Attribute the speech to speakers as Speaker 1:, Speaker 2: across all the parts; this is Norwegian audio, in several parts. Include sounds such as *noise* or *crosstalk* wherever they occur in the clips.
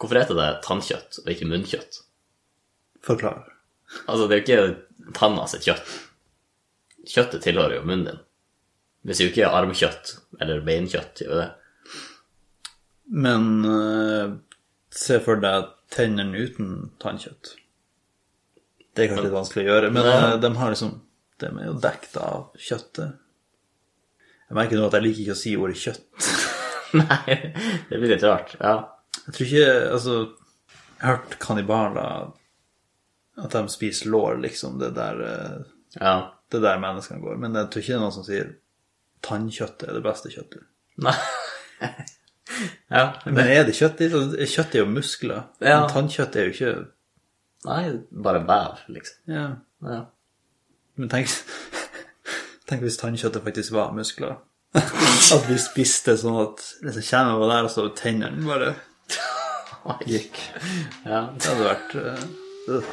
Speaker 1: Hvorfor heter det tannkjøtt og ikke munnkjøtt?
Speaker 2: Forklar.
Speaker 1: Altså, det er jo ikke tanna sitt kjøtt. Kjøttet tilhører jo munnen din. Vi sier jo ikke armkjøtt eller beinkjøtt, gjør vi det? *laughs*
Speaker 2: Men eh, se for deg tennene uten tannkjøtt. Det er kanskje litt vanskelig å gjøre, men
Speaker 1: Ja.
Speaker 2: eh, de har liksom De er jo dekket av kjøttet. Jeg merker nå at jeg liker ikke å si ordet kjøtt.
Speaker 1: Nei, det blir litt rart. Ja.
Speaker 2: Jeg tror ikke Altså, jeg har hørt kannibaler at de spiser lår, liksom. Det der eh,
Speaker 1: ja.
Speaker 2: det der menneskene går. Men jeg tror ikke det er noen som sier tannkjøttet er det beste kjøttet.
Speaker 1: Nei. ja.
Speaker 2: Men er det kjøtt? i? Så Kjøtt er jo muskler.
Speaker 1: Ja.
Speaker 2: Men tannkjøtt er jo ikke
Speaker 1: Nei, bare vev, liksom.
Speaker 2: ja.
Speaker 1: Ja.
Speaker 2: Men tenk, *laughs* tenk hvis tannkjøttet faktisk var muskler. *laughs* At vi spiste sånn at liksom kjernen var der, og så tennene bare gikk.
Speaker 1: Ja.
Speaker 2: Det hadde vært eh, øh.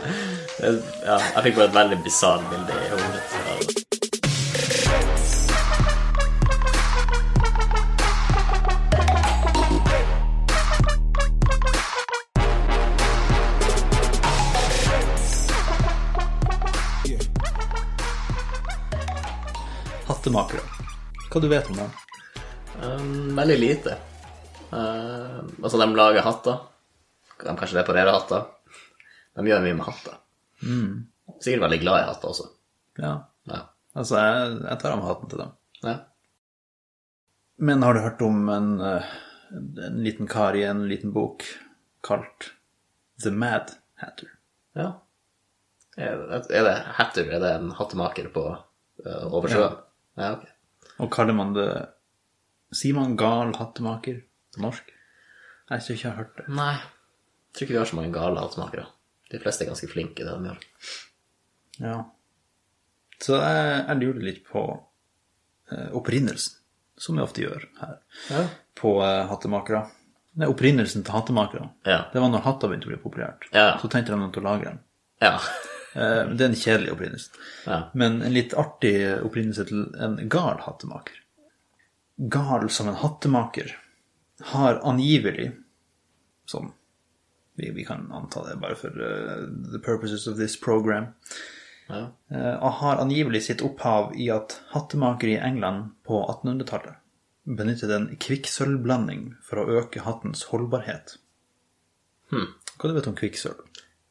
Speaker 1: Det, ja, jeg fikk bare et veldig bisart bilde i hodet. Ja.
Speaker 2: Hattemakere. Hva du vet om dem?
Speaker 1: Um, veldig lite. Eh, altså, de lager hatter. De kanskje reparerer hatter. De gjør mye med hatter. Sikkert veldig glad i hatter også.
Speaker 2: Ja.
Speaker 1: Ja.
Speaker 2: Altså, jeg, jeg tar av meg hatten til dem.
Speaker 1: ja.
Speaker 2: Men har du hørt om en, eh, en liten kar i en liten bok kalt The Mad Hatter?
Speaker 1: ja. Er, det- er det hatter? Er det en hattemaker på uh, over sjøen? Ja. ok.
Speaker 2: Og kaller man det Sier man gal hattemaker på norsk? Jeg tror ikke jeg har hørt det.
Speaker 1: Nei. Jeg tror ikke vi har så mange gale hattemakere. De fleste er ganske flinke i det de gjør.
Speaker 2: Ja. Så jeg, jeg lurer litt på eh, opprinnelsen, som vi ofte gjør her
Speaker 1: Ja.
Speaker 2: på eh, hattemakere. Nei, opprinnelsen til hattemakere.
Speaker 1: Ja.
Speaker 2: Det var når hatter begynte å bli populært.
Speaker 1: Ja.
Speaker 2: Så tenkte de noe til å lage dem.
Speaker 1: Ja.
Speaker 2: Eh, Det er en kjedelig opprinnelse.
Speaker 1: Ja.
Speaker 2: Men en litt artig opprinnelse til en gal hattemaker. Gal som en hattemaker har angivelig, sånn vi, vi kan anta det bare for eh, the purposes of this program,
Speaker 1: ja.
Speaker 2: eh, har angivelig sitt opphav i at hattemakere i England på 1800-tallet benyttet en kvikksølvblanding for å øke hattens holdbarhet.
Speaker 1: Hmm.
Speaker 2: Hva du vet om kvikksølv?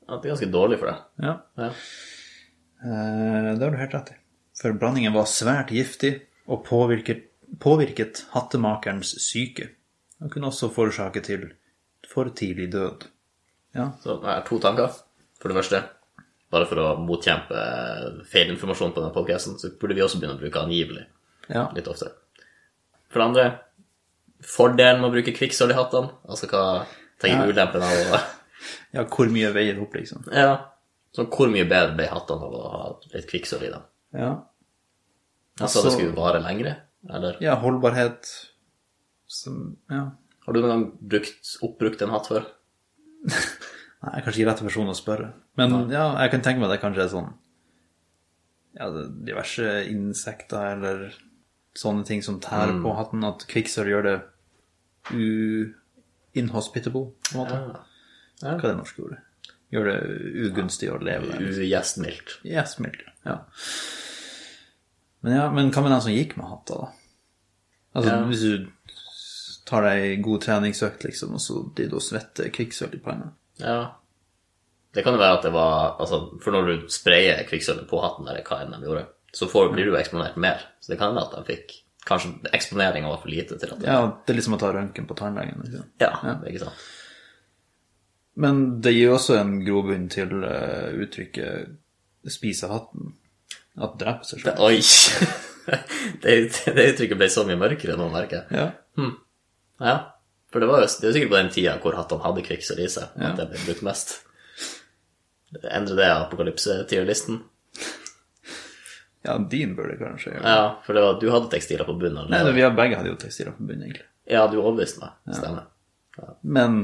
Speaker 1: At det er ganske dårlig for deg.
Speaker 2: Ja,
Speaker 1: Ja.
Speaker 2: Eh, Det har du helt rett i. For blandingen var svært giftig og påvirket, påvirket hattemakerens syke. Og kunne også forårsake til for tidlig død. Ja,
Speaker 1: Så jeg har to tanker. For det første, bare for å motkjempe eh, feilinformasjon på denne podcasten, så burde vi også begynne å bruke angivelig
Speaker 2: ja.
Speaker 1: litt oftere. For det andre, fordelen med å bruke kvikksølv i hattene, altså hva tenker du ulempen av å
Speaker 2: ja hvor mye veier opp, liksom?
Speaker 1: Ja. Så hvor mye bedre ble hattene av å ha litt kvikksølv i dem?
Speaker 2: Ja,
Speaker 1: Altså, det
Speaker 2: Så-
Speaker 1: skulle vare lengre, eller?
Speaker 2: ja holdbarhet som Ja.
Speaker 1: Har du noen gang brukt, oppbrukt en hatt før?
Speaker 2: Nei, jeg er kanskje ikke rett person å spørre. Men ja, jeg kan tenke meg det kanskje er sånn ja, det- diverse insekter eller sånne ting som tærer på hatten, at kvikksølv gjør det u-inhospitable, på en måte. Hva er det norske ordet? Gjør det ugunstig å leve der.
Speaker 1: Ugjestmildt.
Speaker 2: Yes, mildt, ja. Men, ja, men hva med den som gikk med hatta, da? Altså,
Speaker 1: Ja.
Speaker 2: hvis du tar deg ei god treningsøkt, liksom, og så blir du og svetter kvikksølv i panna.
Speaker 1: Ja. Det kan jo være at det var altså, For når du sprayer kvikksølvet på hatten, eller hva enn de gjorde, så får, blir du jo eksponert mer. Så det kan være at de fikk Kanskje eksponeringa var for lite til at det
Speaker 2: Ja, det er liksom å ta røntgen på tannlegen. Ikke? sant?
Speaker 1: Ja, ikke sant?
Speaker 2: Men det gir jo også en grobunn til eh, uttrykket 'spise hatten'. At drepe seg sjøl.
Speaker 1: Oi! *laughs* det, det uttrykket ble så mye mørkere nå, merker jeg.
Speaker 2: Ja.
Speaker 1: Ja. For det var jo det er jo sikkert på den tida hvor hattene hadde kvikksølv i seg, at det ble brukt mest. Endre det apokalypse-tierlisten.
Speaker 2: ja, din burde kanskje gjøre det.
Speaker 1: Ja, for det var, du hadde tekstiler på bunnen.
Speaker 2: Nei,
Speaker 1: allerede.
Speaker 2: vi har begge hadde jo tekstiler på bunnen, egentlig.
Speaker 1: Ja, du overbeviste meg. Stemmer.
Speaker 2: Men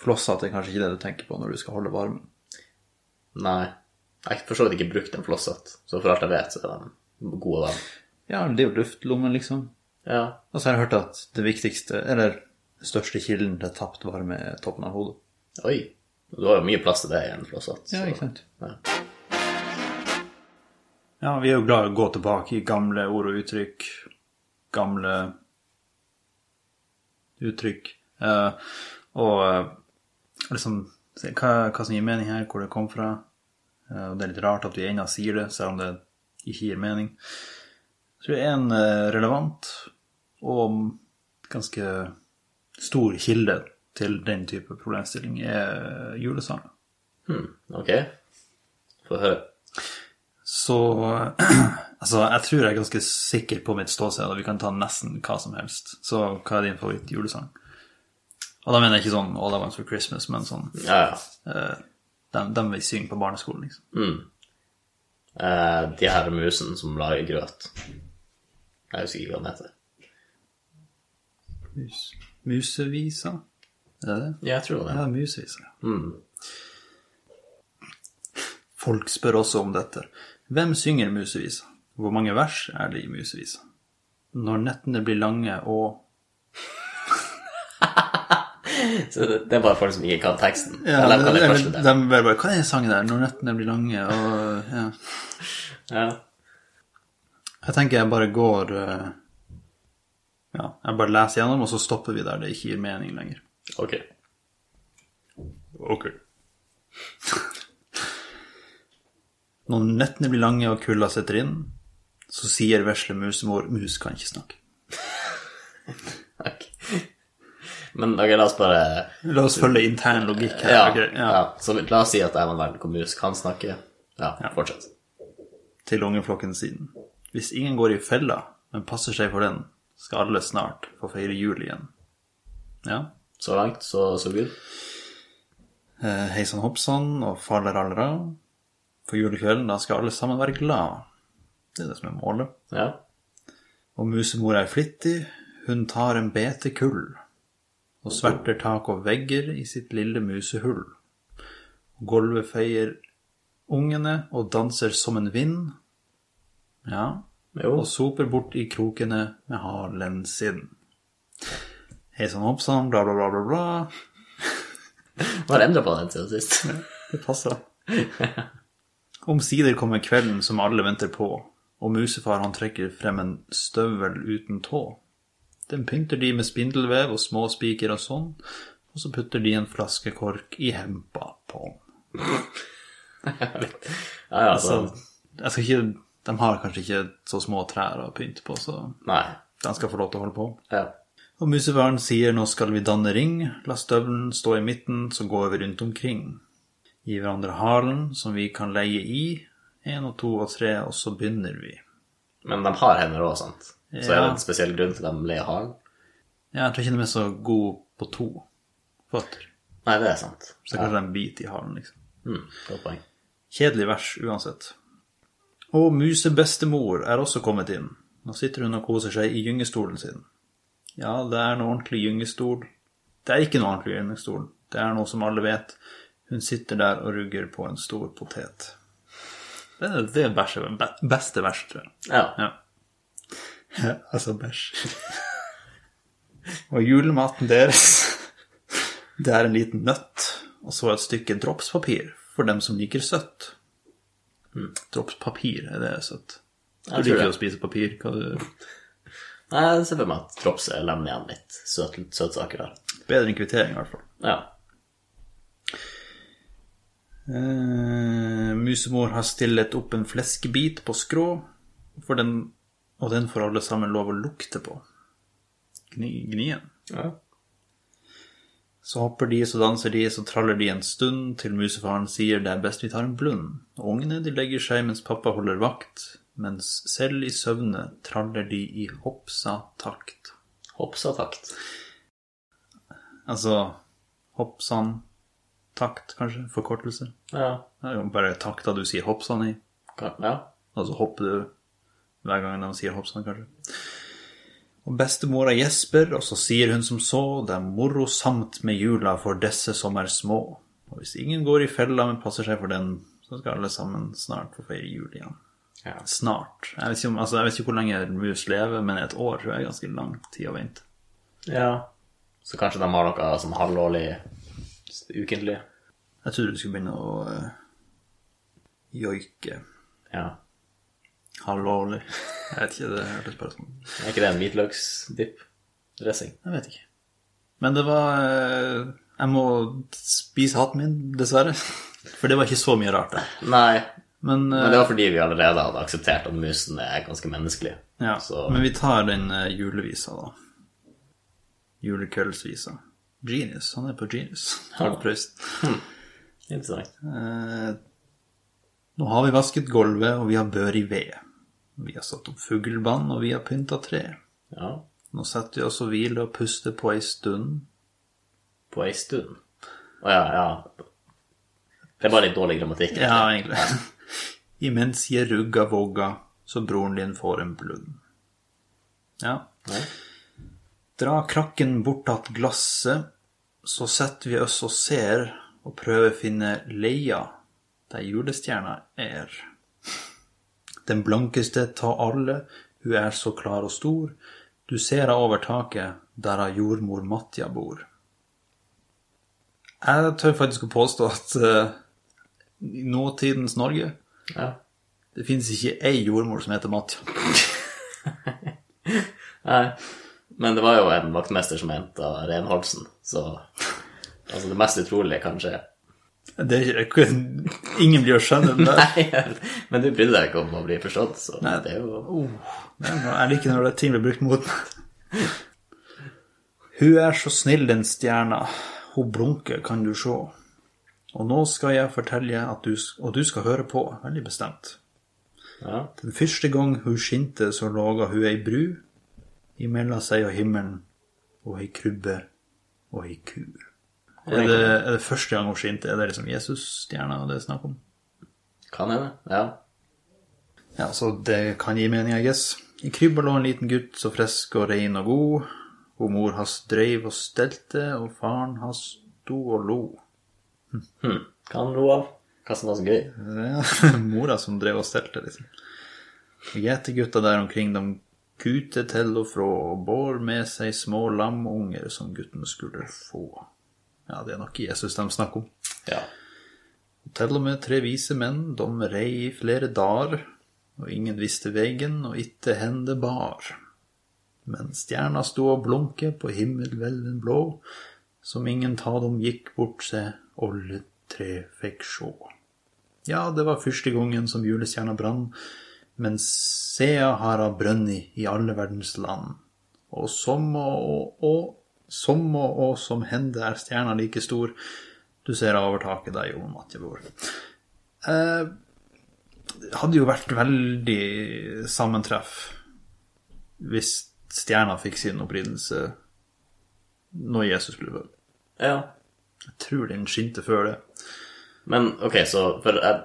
Speaker 2: flosshatt er kanskje ikke det du tenker på når du skal holde varmen.
Speaker 1: Nei. Jeg har for så vidt ikke brukt en flosshatt, så for alt jeg vet, så er de gode venn.
Speaker 2: Ja, det er jo luftlommen, liksom.
Speaker 1: Ja.
Speaker 2: Og så har jeg hørt at det viktigste Eller største kilden til tapt varme er toppen av hodet.
Speaker 1: Oi. Du har jo mye plass til det igjen fortsatt. så-
Speaker 2: Ja, ikke sant?
Speaker 1: Ja.
Speaker 2: Ja, vi er jo glad i å gå tilbake i gamle ord og uttrykk. Gamle uttrykk. Eh, og eh, liksom se hva, hva som gir mening her, hvor det kom fra. Eh, og det er litt rart at vi ennå sier det, selv om det ikke gir mening. Jeg tror det er en eh, relevant og ganske stor kilde til den type problemstilling er julesanger.
Speaker 1: Hmm, ok. Få høre.
Speaker 2: Så *clears throat* altså, jeg tror jeg er ganske sikker på mitt ståsted, og vi kan ta nesten hva som helst. Så hva er din favorittjulesang? Og da mener jeg ikke sånn All I Want for Christmas, men sånn
Speaker 1: Ja, ja.
Speaker 2: eh, dem, dem vi synger på barneskolen, liksom.
Speaker 1: Eh, de her musene som lager grøt. Jeg husker ikke hva den heter.
Speaker 2: Mus. Musevisa? Er det det?
Speaker 1: Ja, jeg tror det.
Speaker 2: Ja, musevisa. Folk spør også om dette. Hvem synger musevisa? Hvor mange vers er det i musevisa? Når nettene blir lange og
Speaker 1: Så det, det er bare folk som ikke kan teksten.
Speaker 2: Ja,
Speaker 1: Eller de kan det
Speaker 2: eller
Speaker 1: første der.
Speaker 2: De bare bare Hva er den sangen der? Når nettene blir lange og ja.
Speaker 1: Ja.
Speaker 2: Jeg tenker jeg bare går eh, Ja, jeg bare leser gjennom, og så stopper vi der det ikke gir mening lenger.
Speaker 1: Ok.
Speaker 2: Ok. *laughs* Når nettene blir lange og kulda setter inn, så sier vesle musemor Mus kan ikke snakke.
Speaker 1: Ok. *laughs* Men ok, la oss bare
Speaker 2: La oss følge intern logikk her.
Speaker 1: Ja.
Speaker 2: ok?
Speaker 1: ja. Så la oss si at jeg var en verden hvor mus kan snakke. Ja, fortsett.
Speaker 2: til ungeflokken sin. Hvis ingen går i fella, men passer seg for den, skal alle snart få feire jul igjen. Ja.
Speaker 1: Så langt, så, så good.
Speaker 2: Eh, Hei sann hoppsann og fallerallera. For julekvelden, da skal alle sammen være glad. Det er det som er målet.
Speaker 1: Ja.
Speaker 2: Og musemor er flittig, hun tar en bete kull. Og sverter tak og vegger i sitt lille musehull. Gulvet feier ungene og danser som en vind. Ja,
Speaker 1: Jo.
Speaker 2: og soper bort i krokene med halen sin. Hei sann, hoppsann, bla, bla, bla, bla, bla.
Speaker 1: Bare endra på den siden sist.
Speaker 2: Det passer. *laughs* Omsider kommer kvelden som alle venter på, og musefar han trekker frem en støvel uten tå. Den pynter de med spindelvev og små spiker og sånn, og så putter de en flaskekork i hempa på den.
Speaker 1: *laughs* Ja, ja, så
Speaker 2: Altså, jeg skal ikke, de har kanskje ikke så små trær å pynte på, så
Speaker 1: Nei.
Speaker 2: de skal få lov til å holde på.
Speaker 1: Ja.
Speaker 2: Og musefaren sier nå skal vi danne ring, la støvelen stå i midten, så går vi rundt omkring. Gi hverandre halen som vi kan leie i, én og to og tre, og så begynner vi.
Speaker 1: Men de har hender òg, sant? Så er det
Speaker 2: Ja.
Speaker 1: en spesiell grunn til at de ler halen?
Speaker 2: Ja, jeg tror ikke de er så gode på to føtter,
Speaker 1: Nei, det er sant.
Speaker 2: så kanskje de biter i halen, liksom.
Speaker 1: Mm, godt poeng.
Speaker 2: Kjedelig vers uansett. Og musebestemor er også kommet inn. Nå sitter hun og koser seg i gyngestolen sin. Ja, det er noe ordentlig gyngestol. Det er ikke noe ordentlig gyngestol. Det er noe som alle vet. Hun sitter der og rugger på en stor potet. Det er det er verset- be- beste verset, tror jeg.
Speaker 1: Ja.
Speaker 2: Ja. altså bæsj. og julematen deres, det er en liten nøtt, og så et stykke dropspapir for dem som liker søtt. Dropspapir, er det søtt?
Speaker 1: Mm.
Speaker 2: Du
Speaker 1: Jeg tror
Speaker 2: liker
Speaker 1: det.
Speaker 2: jo å spise papir. Hva du...
Speaker 1: Nei, jeg ser for meg at drops lemner igjen litt søt, søtsaker der.
Speaker 2: Bedre enn kvittering, i hvert fall.
Speaker 1: Ja.
Speaker 2: Eh, musemor har stillet opp en fleskebit på skrå, for den, og den får alle sammen lov å lukte på. Gni, gnien.
Speaker 1: ja.
Speaker 2: Så hopper de, så danser de, så traller de en stund, til musefaren sier det er best vi tar en blund. Og Ungene de legger seg mens pappa holder vakt, mens selv i søvne traller de i hoppsa takt.
Speaker 1: Hopsa takt.
Speaker 2: Altså hoppsan takt, kanskje? Forkortelse?
Speaker 1: Ja.
Speaker 2: Det er jo bare takta du sier hoppsan i,
Speaker 1: Kan, ja.
Speaker 2: og så hopper du hver gang de sier hoppsan, kanskje. Og bestemora gjesper, og så sier hun som så, det er moro samt med jula for disse som er små. Og hvis ingen går i fella, men passer seg for den, så skal alle sammen snart få feire jul igjen.
Speaker 1: Ja.
Speaker 2: Snart. Jeg vet ikke, om, altså, jeg vet ikke hvor lenge mus lever, men et år tror jeg er ganske lang tid å vente.
Speaker 1: ja. Så kanskje de har noe sånn halvårlig, s- ukentlig.
Speaker 2: Jeg trodde du skulle begynne å eh, joike
Speaker 1: Ja.
Speaker 2: halvårlig. *laughs* Jeg vet ikke, det hørtes bare sånn
Speaker 1: Er ikke det en hvitløksdipp-dressing?
Speaker 2: Jeg vet ikke. Men det var eh, Jeg må spise hatten min, dessverre. *laughs* For det var ikke så mye rart, det.
Speaker 1: Nei,
Speaker 2: Men, eh,
Speaker 1: men det var fordi vi allerede hadde akseptert at musen er ganske menneskelig.
Speaker 2: ja.
Speaker 1: så-
Speaker 2: Men vi tar den eh, julevisa, da. Julekveldsvisa. Genius. Han er på Genius.
Speaker 1: *laughs*
Speaker 2: Harald Prøysen.
Speaker 1: Interessant.
Speaker 2: Eh, Nå har vi vasket gulvet, og vi har bør i ved. Vi har satt opp fugleband, og vi har pynta tre.
Speaker 1: Ja,
Speaker 2: Nå setter vi oss og hviler og puster på ei stund.
Speaker 1: på ei stund. Å ja, ja. Det er bare litt dårlig grammatikk.
Speaker 2: Ja, egentlig. *laughs* Imens jeg rugga vogga, så broren din får en blund. Ja.
Speaker 1: Ja.
Speaker 2: Dra krakken bort att glasset, så setter vi oss og ser og prøver å finne leia der julestjerna er. Den blankeste ta alle, hun er så klar og stor, du ser henne over taket, der hun jordmor Matja bor. Jeg tør faktisk å påstå at eh, i nåtidens Norge
Speaker 1: Ja.
Speaker 2: det finnes ikke ei jordmor som heter Matja.
Speaker 1: Nei. Men det var jo en vaktmester som henta renholdsen, så Altså, det mest utrolige kan skje.
Speaker 2: Det er ikke, ingen blir å skjønne det.
Speaker 1: Nei, *laughs* men du brydde deg ikke om å bli forstått, så
Speaker 2: Nei.
Speaker 1: det er jo
Speaker 2: Oh, det er noe- jeg liker når det ting blir brukt mot meg. Hun er så snill, den stjerna. Hun blunker, kan du sjå. Og nå skal jeg fortelle, at du, s- og du skal høre på, veldig bestemt.
Speaker 1: Ja.
Speaker 2: Den første gang hun skinte, så laga hun ei bru imellom seg og himmelen, og ei krybbe og ei ku. Er det, er det første gang hun skinte? Er det liksom Jesus-stjerna det er snakk om?
Speaker 1: Kan hende. Ja.
Speaker 2: Ja, så det kan gi mening, I guess. I krybba lå en liten gutt så frisk og rein og god. Og mor hans dreiv og stelte, og faren hans sto og lo.
Speaker 1: Hm. Kan ro av. Hva som var så gøy.
Speaker 2: Det er *laughs* mora som drev og stelte, liksom. Og gjetegutta der omkring, de kuter til og fra og bar med seg små lamunger som gutten skulle få. Ja, det er nok Jesus de snakker om.
Speaker 1: Ja.
Speaker 2: Til og med tre vise menn, de rei i flere dager, og ingen visste vegen, og itte hen det bar. Men stjerna sto og blunke på himmelvelden blå, som ingen ta dem gikk bort seg, alle tre fikk sjå. Ja, det var første gangen som julestjerna brann, men sea har hun brønni i alle verdens land. Og som og, og som og, og som hende er stjerna like stor, du ser henne over taket der Jon Matje bor. Eh, det hadde jo vært veldig sammentreff hvis stjerna fikk sin opprinnelse når Jesus ble født.
Speaker 1: ja.
Speaker 2: Jeg tror den skinte før det.
Speaker 1: Men ok, så for eh,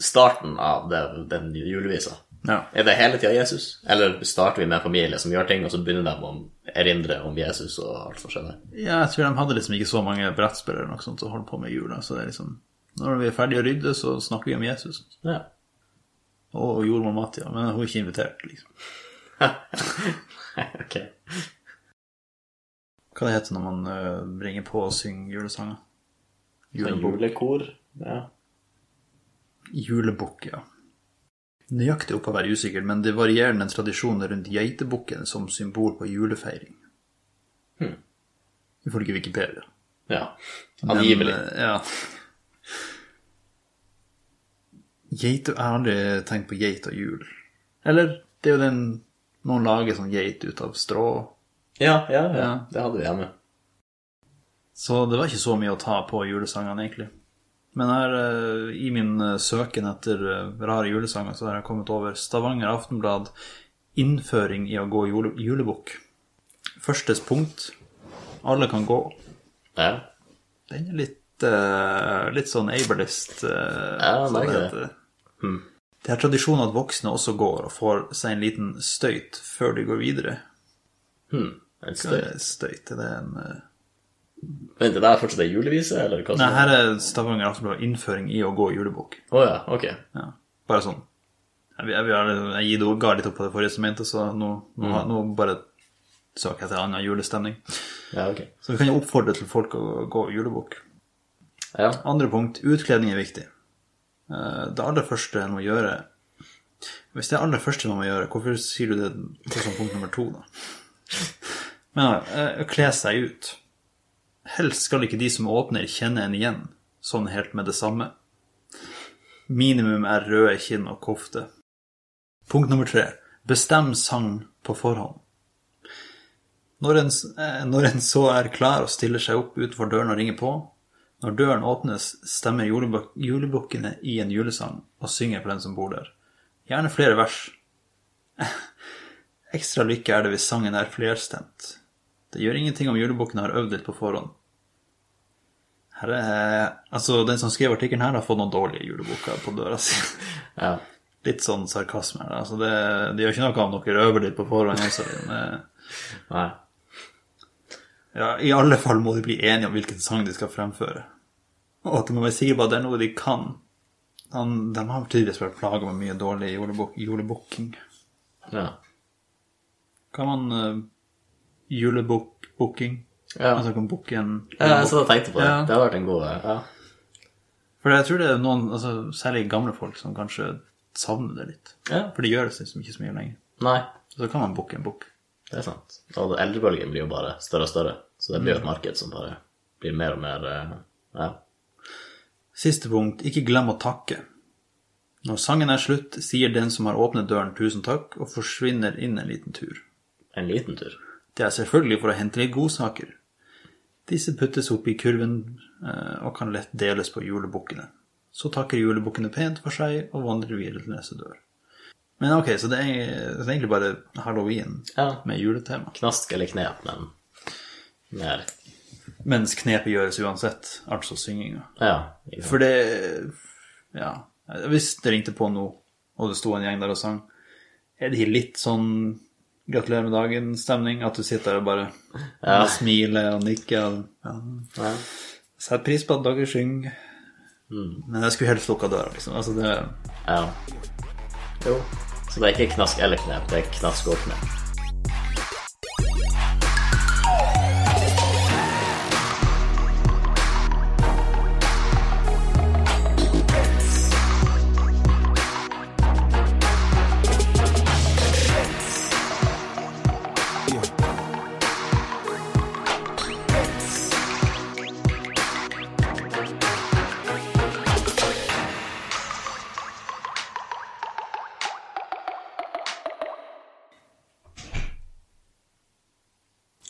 Speaker 1: starten av det, den julevisa
Speaker 2: Ja.
Speaker 1: Er det hele tida Jesus? Eller starter vi med en familie som gjør ting, og så begynner de å erindre om Jesus og alt som skjedde?
Speaker 2: Ja, jeg tror de hadde liksom ikke så mange brettspill eller noe sånt å holde på med i jula. Så det er liksom Når vi er ferdige å rydde, så snakker vi om Jesus.
Speaker 1: Ja.
Speaker 2: Og jordmor Matja. Men hun er ikke invitert, liksom.
Speaker 1: ok.
Speaker 2: Hva det heter det når man eh, bringer på og synger julesanger? Julebukk.
Speaker 1: Julekor. Ja.
Speaker 2: Julebukk, ja. Nøyaktig opp å være usikker, men det varierer den tradisjonen rundt geitebukken som symbol på julefeiring.
Speaker 1: Hmm.
Speaker 2: Ifølge Wikipedia.
Speaker 1: ja.
Speaker 2: Men,
Speaker 1: Angivelig.
Speaker 2: eh, Ja. Geit Jeg har aldri tenkt på geit og jul. Eller det er jo den Noen lager sånn geit ut av strå.
Speaker 1: Ja, ja, ja.
Speaker 2: Ja.
Speaker 1: Det hadde vi hjemme.
Speaker 2: Så det var ikke så mye å ta på julesangene, egentlig. Men her, eh, i min eh, søken etter eh, rare julesanger, så har jeg kommet over Stavanger Aftenblad 'Innføring i å gå jule julebukk'. Første punkt 'Alle kan gå'.
Speaker 1: Ja.
Speaker 2: Den er litt, eh, litt sånn ableist. eh,
Speaker 1: Ja, jeg
Speaker 2: som det
Speaker 1: merker det.
Speaker 2: heter. Hmm. Det er tradisjon at voksne også går og får seg en liten støyt før de går videre.
Speaker 1: Hm. En
Speaker 2: Hva
Speaker 1: stund.
Speaker 2: er støyt? Er det en eh,
Speaker 1: Vent, det der fortsatt er julevise, eller hva
Speaker 2: Nei,
Speaker 1: som
Speaker 2: her er Stavanger Aftenblad 'Innføring i å gå julebukk'.
Speaker 1: Å ja, ok.
Speaker 2: Ja. Bare sånn. Hmm. Jeg, jeg, jeg, jeg gir det- ga litt opp på det forrige som mente, så nå, nå, har- nå bare søke etter annen julestemning.
Speaker 1: Ja, ok.
Speaker 2: Så vi kan jo oppfordre til folk å gå julebukk.
Speaker 1: Ja,
Speaker 2: Andre punkt, utkledning er viktig. Eh, Det aller første en må gjøre Hvis det er aller første man må gjøre, hvorfor sier du det som punkt nummer to, da? Men eh, å kle seg ut. Helst skal ikke de som åpner, kjenne en igjen, sånn helt med det samme. Minimum er røde kinn og kofte. Punkt nummer tre, bestem sang på forhånd. Når en, s- eh, når en så er klar og stiller seg opp utenfor døren og ringer på, når døren åpnes, stemmer julebuk julebukkene i en julesang og synger for den som bor der. Gjerne flere vers. *laughs* Ekstra lykke er det hvis sangen er flerstemt. Det gjør ingenting om julebukkene har øvd litt på forhånd. Her er, altså, den som skrev artikkelen her, har fått noen dårlige julebukker på døra si. *laughs*
Speaker 1: ja.
Speaker 2: Litt sånn sarkasme her. da. Altså, det, det gjør ikke noe om dere øver litt på forhånd. Altså, men, eh,
Speaker 1: Nei.
Speaker 2: Ja, I alle fall må de bli enige om hvilken sang de skal fremføre. Og at de må være sikre på at det er noe de kan. Han, de har tydeligvis vært plaga med mye dårlig julebok- julebukking.
Speaker 1: Ja.
Speaker 2: Kan man uh, julebukking?
Speaker 1: Ja.
Speaker 2: Altså kan booke en
Speaker 1: Ja, jeg satt og tenkte på det.
Speaker 2: Ja.
Speaker 1: Det hadde vært en god eh, ja.
Speaker 2: For jeg tror det er noen, altså, særlig gamle folk, som kanskje savner det litt.
Speaker 1: ja.
Speaker 2: For de gjør det liksom ikke så mye lenger.
Speaker 1: Nei,
Speaker 2: Så kan man booke en bukk.
Speaker 1: det er sant. Og eldrebølgen blir jo bare større og større. Så det blir jo et marked som bare blir mer og mer eh, Ja.
Speaker 2: Siste punkt, ikke glem å takke. Når sangen er slutt, sier den som har åpnet døren tusen takk, og forsvinner inn en liten tur.
Speaker 1: En liten tur.
Speaker 2: Det er selvfølgelig for å hente litt godsaker. Disse puttes opp i kurven eh, og kan lett deles på julebukkene. Så takker julebukkene pent for seg og vandrer videre til neste dør. Men ok, så det er, det er egentlig bare halloween
Speaker 1: Ja.
Speaker 2: med juletema.
Speaker 1: Knask eller knep, men mer
Speaker 2: Mens knepet gjøres uansett, altså synginga.
Speaker 1: Ja. ikke sant.
Speaker 2: For det Ja. Hvis det ringte på nå, og det sto en gjeng der og sang, er det litt sånn gratulerer med dagen-stemning? At du sitter der og bare
Speaker 1: Ja.
Speaker 2: smiler og nikker? Og, ja.
Speaker 1: Ja.
Speaker 2: Sett pris på at dere synger. Men jeg skulle helst lukka døra, liksom. Altså, det,
Speaker 1: ja. Jo. Så det er ikke knask eller knep, det er knask og knep.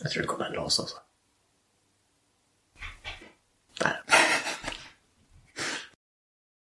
Speaker 1: Jeg tror det kommer en lås, altså.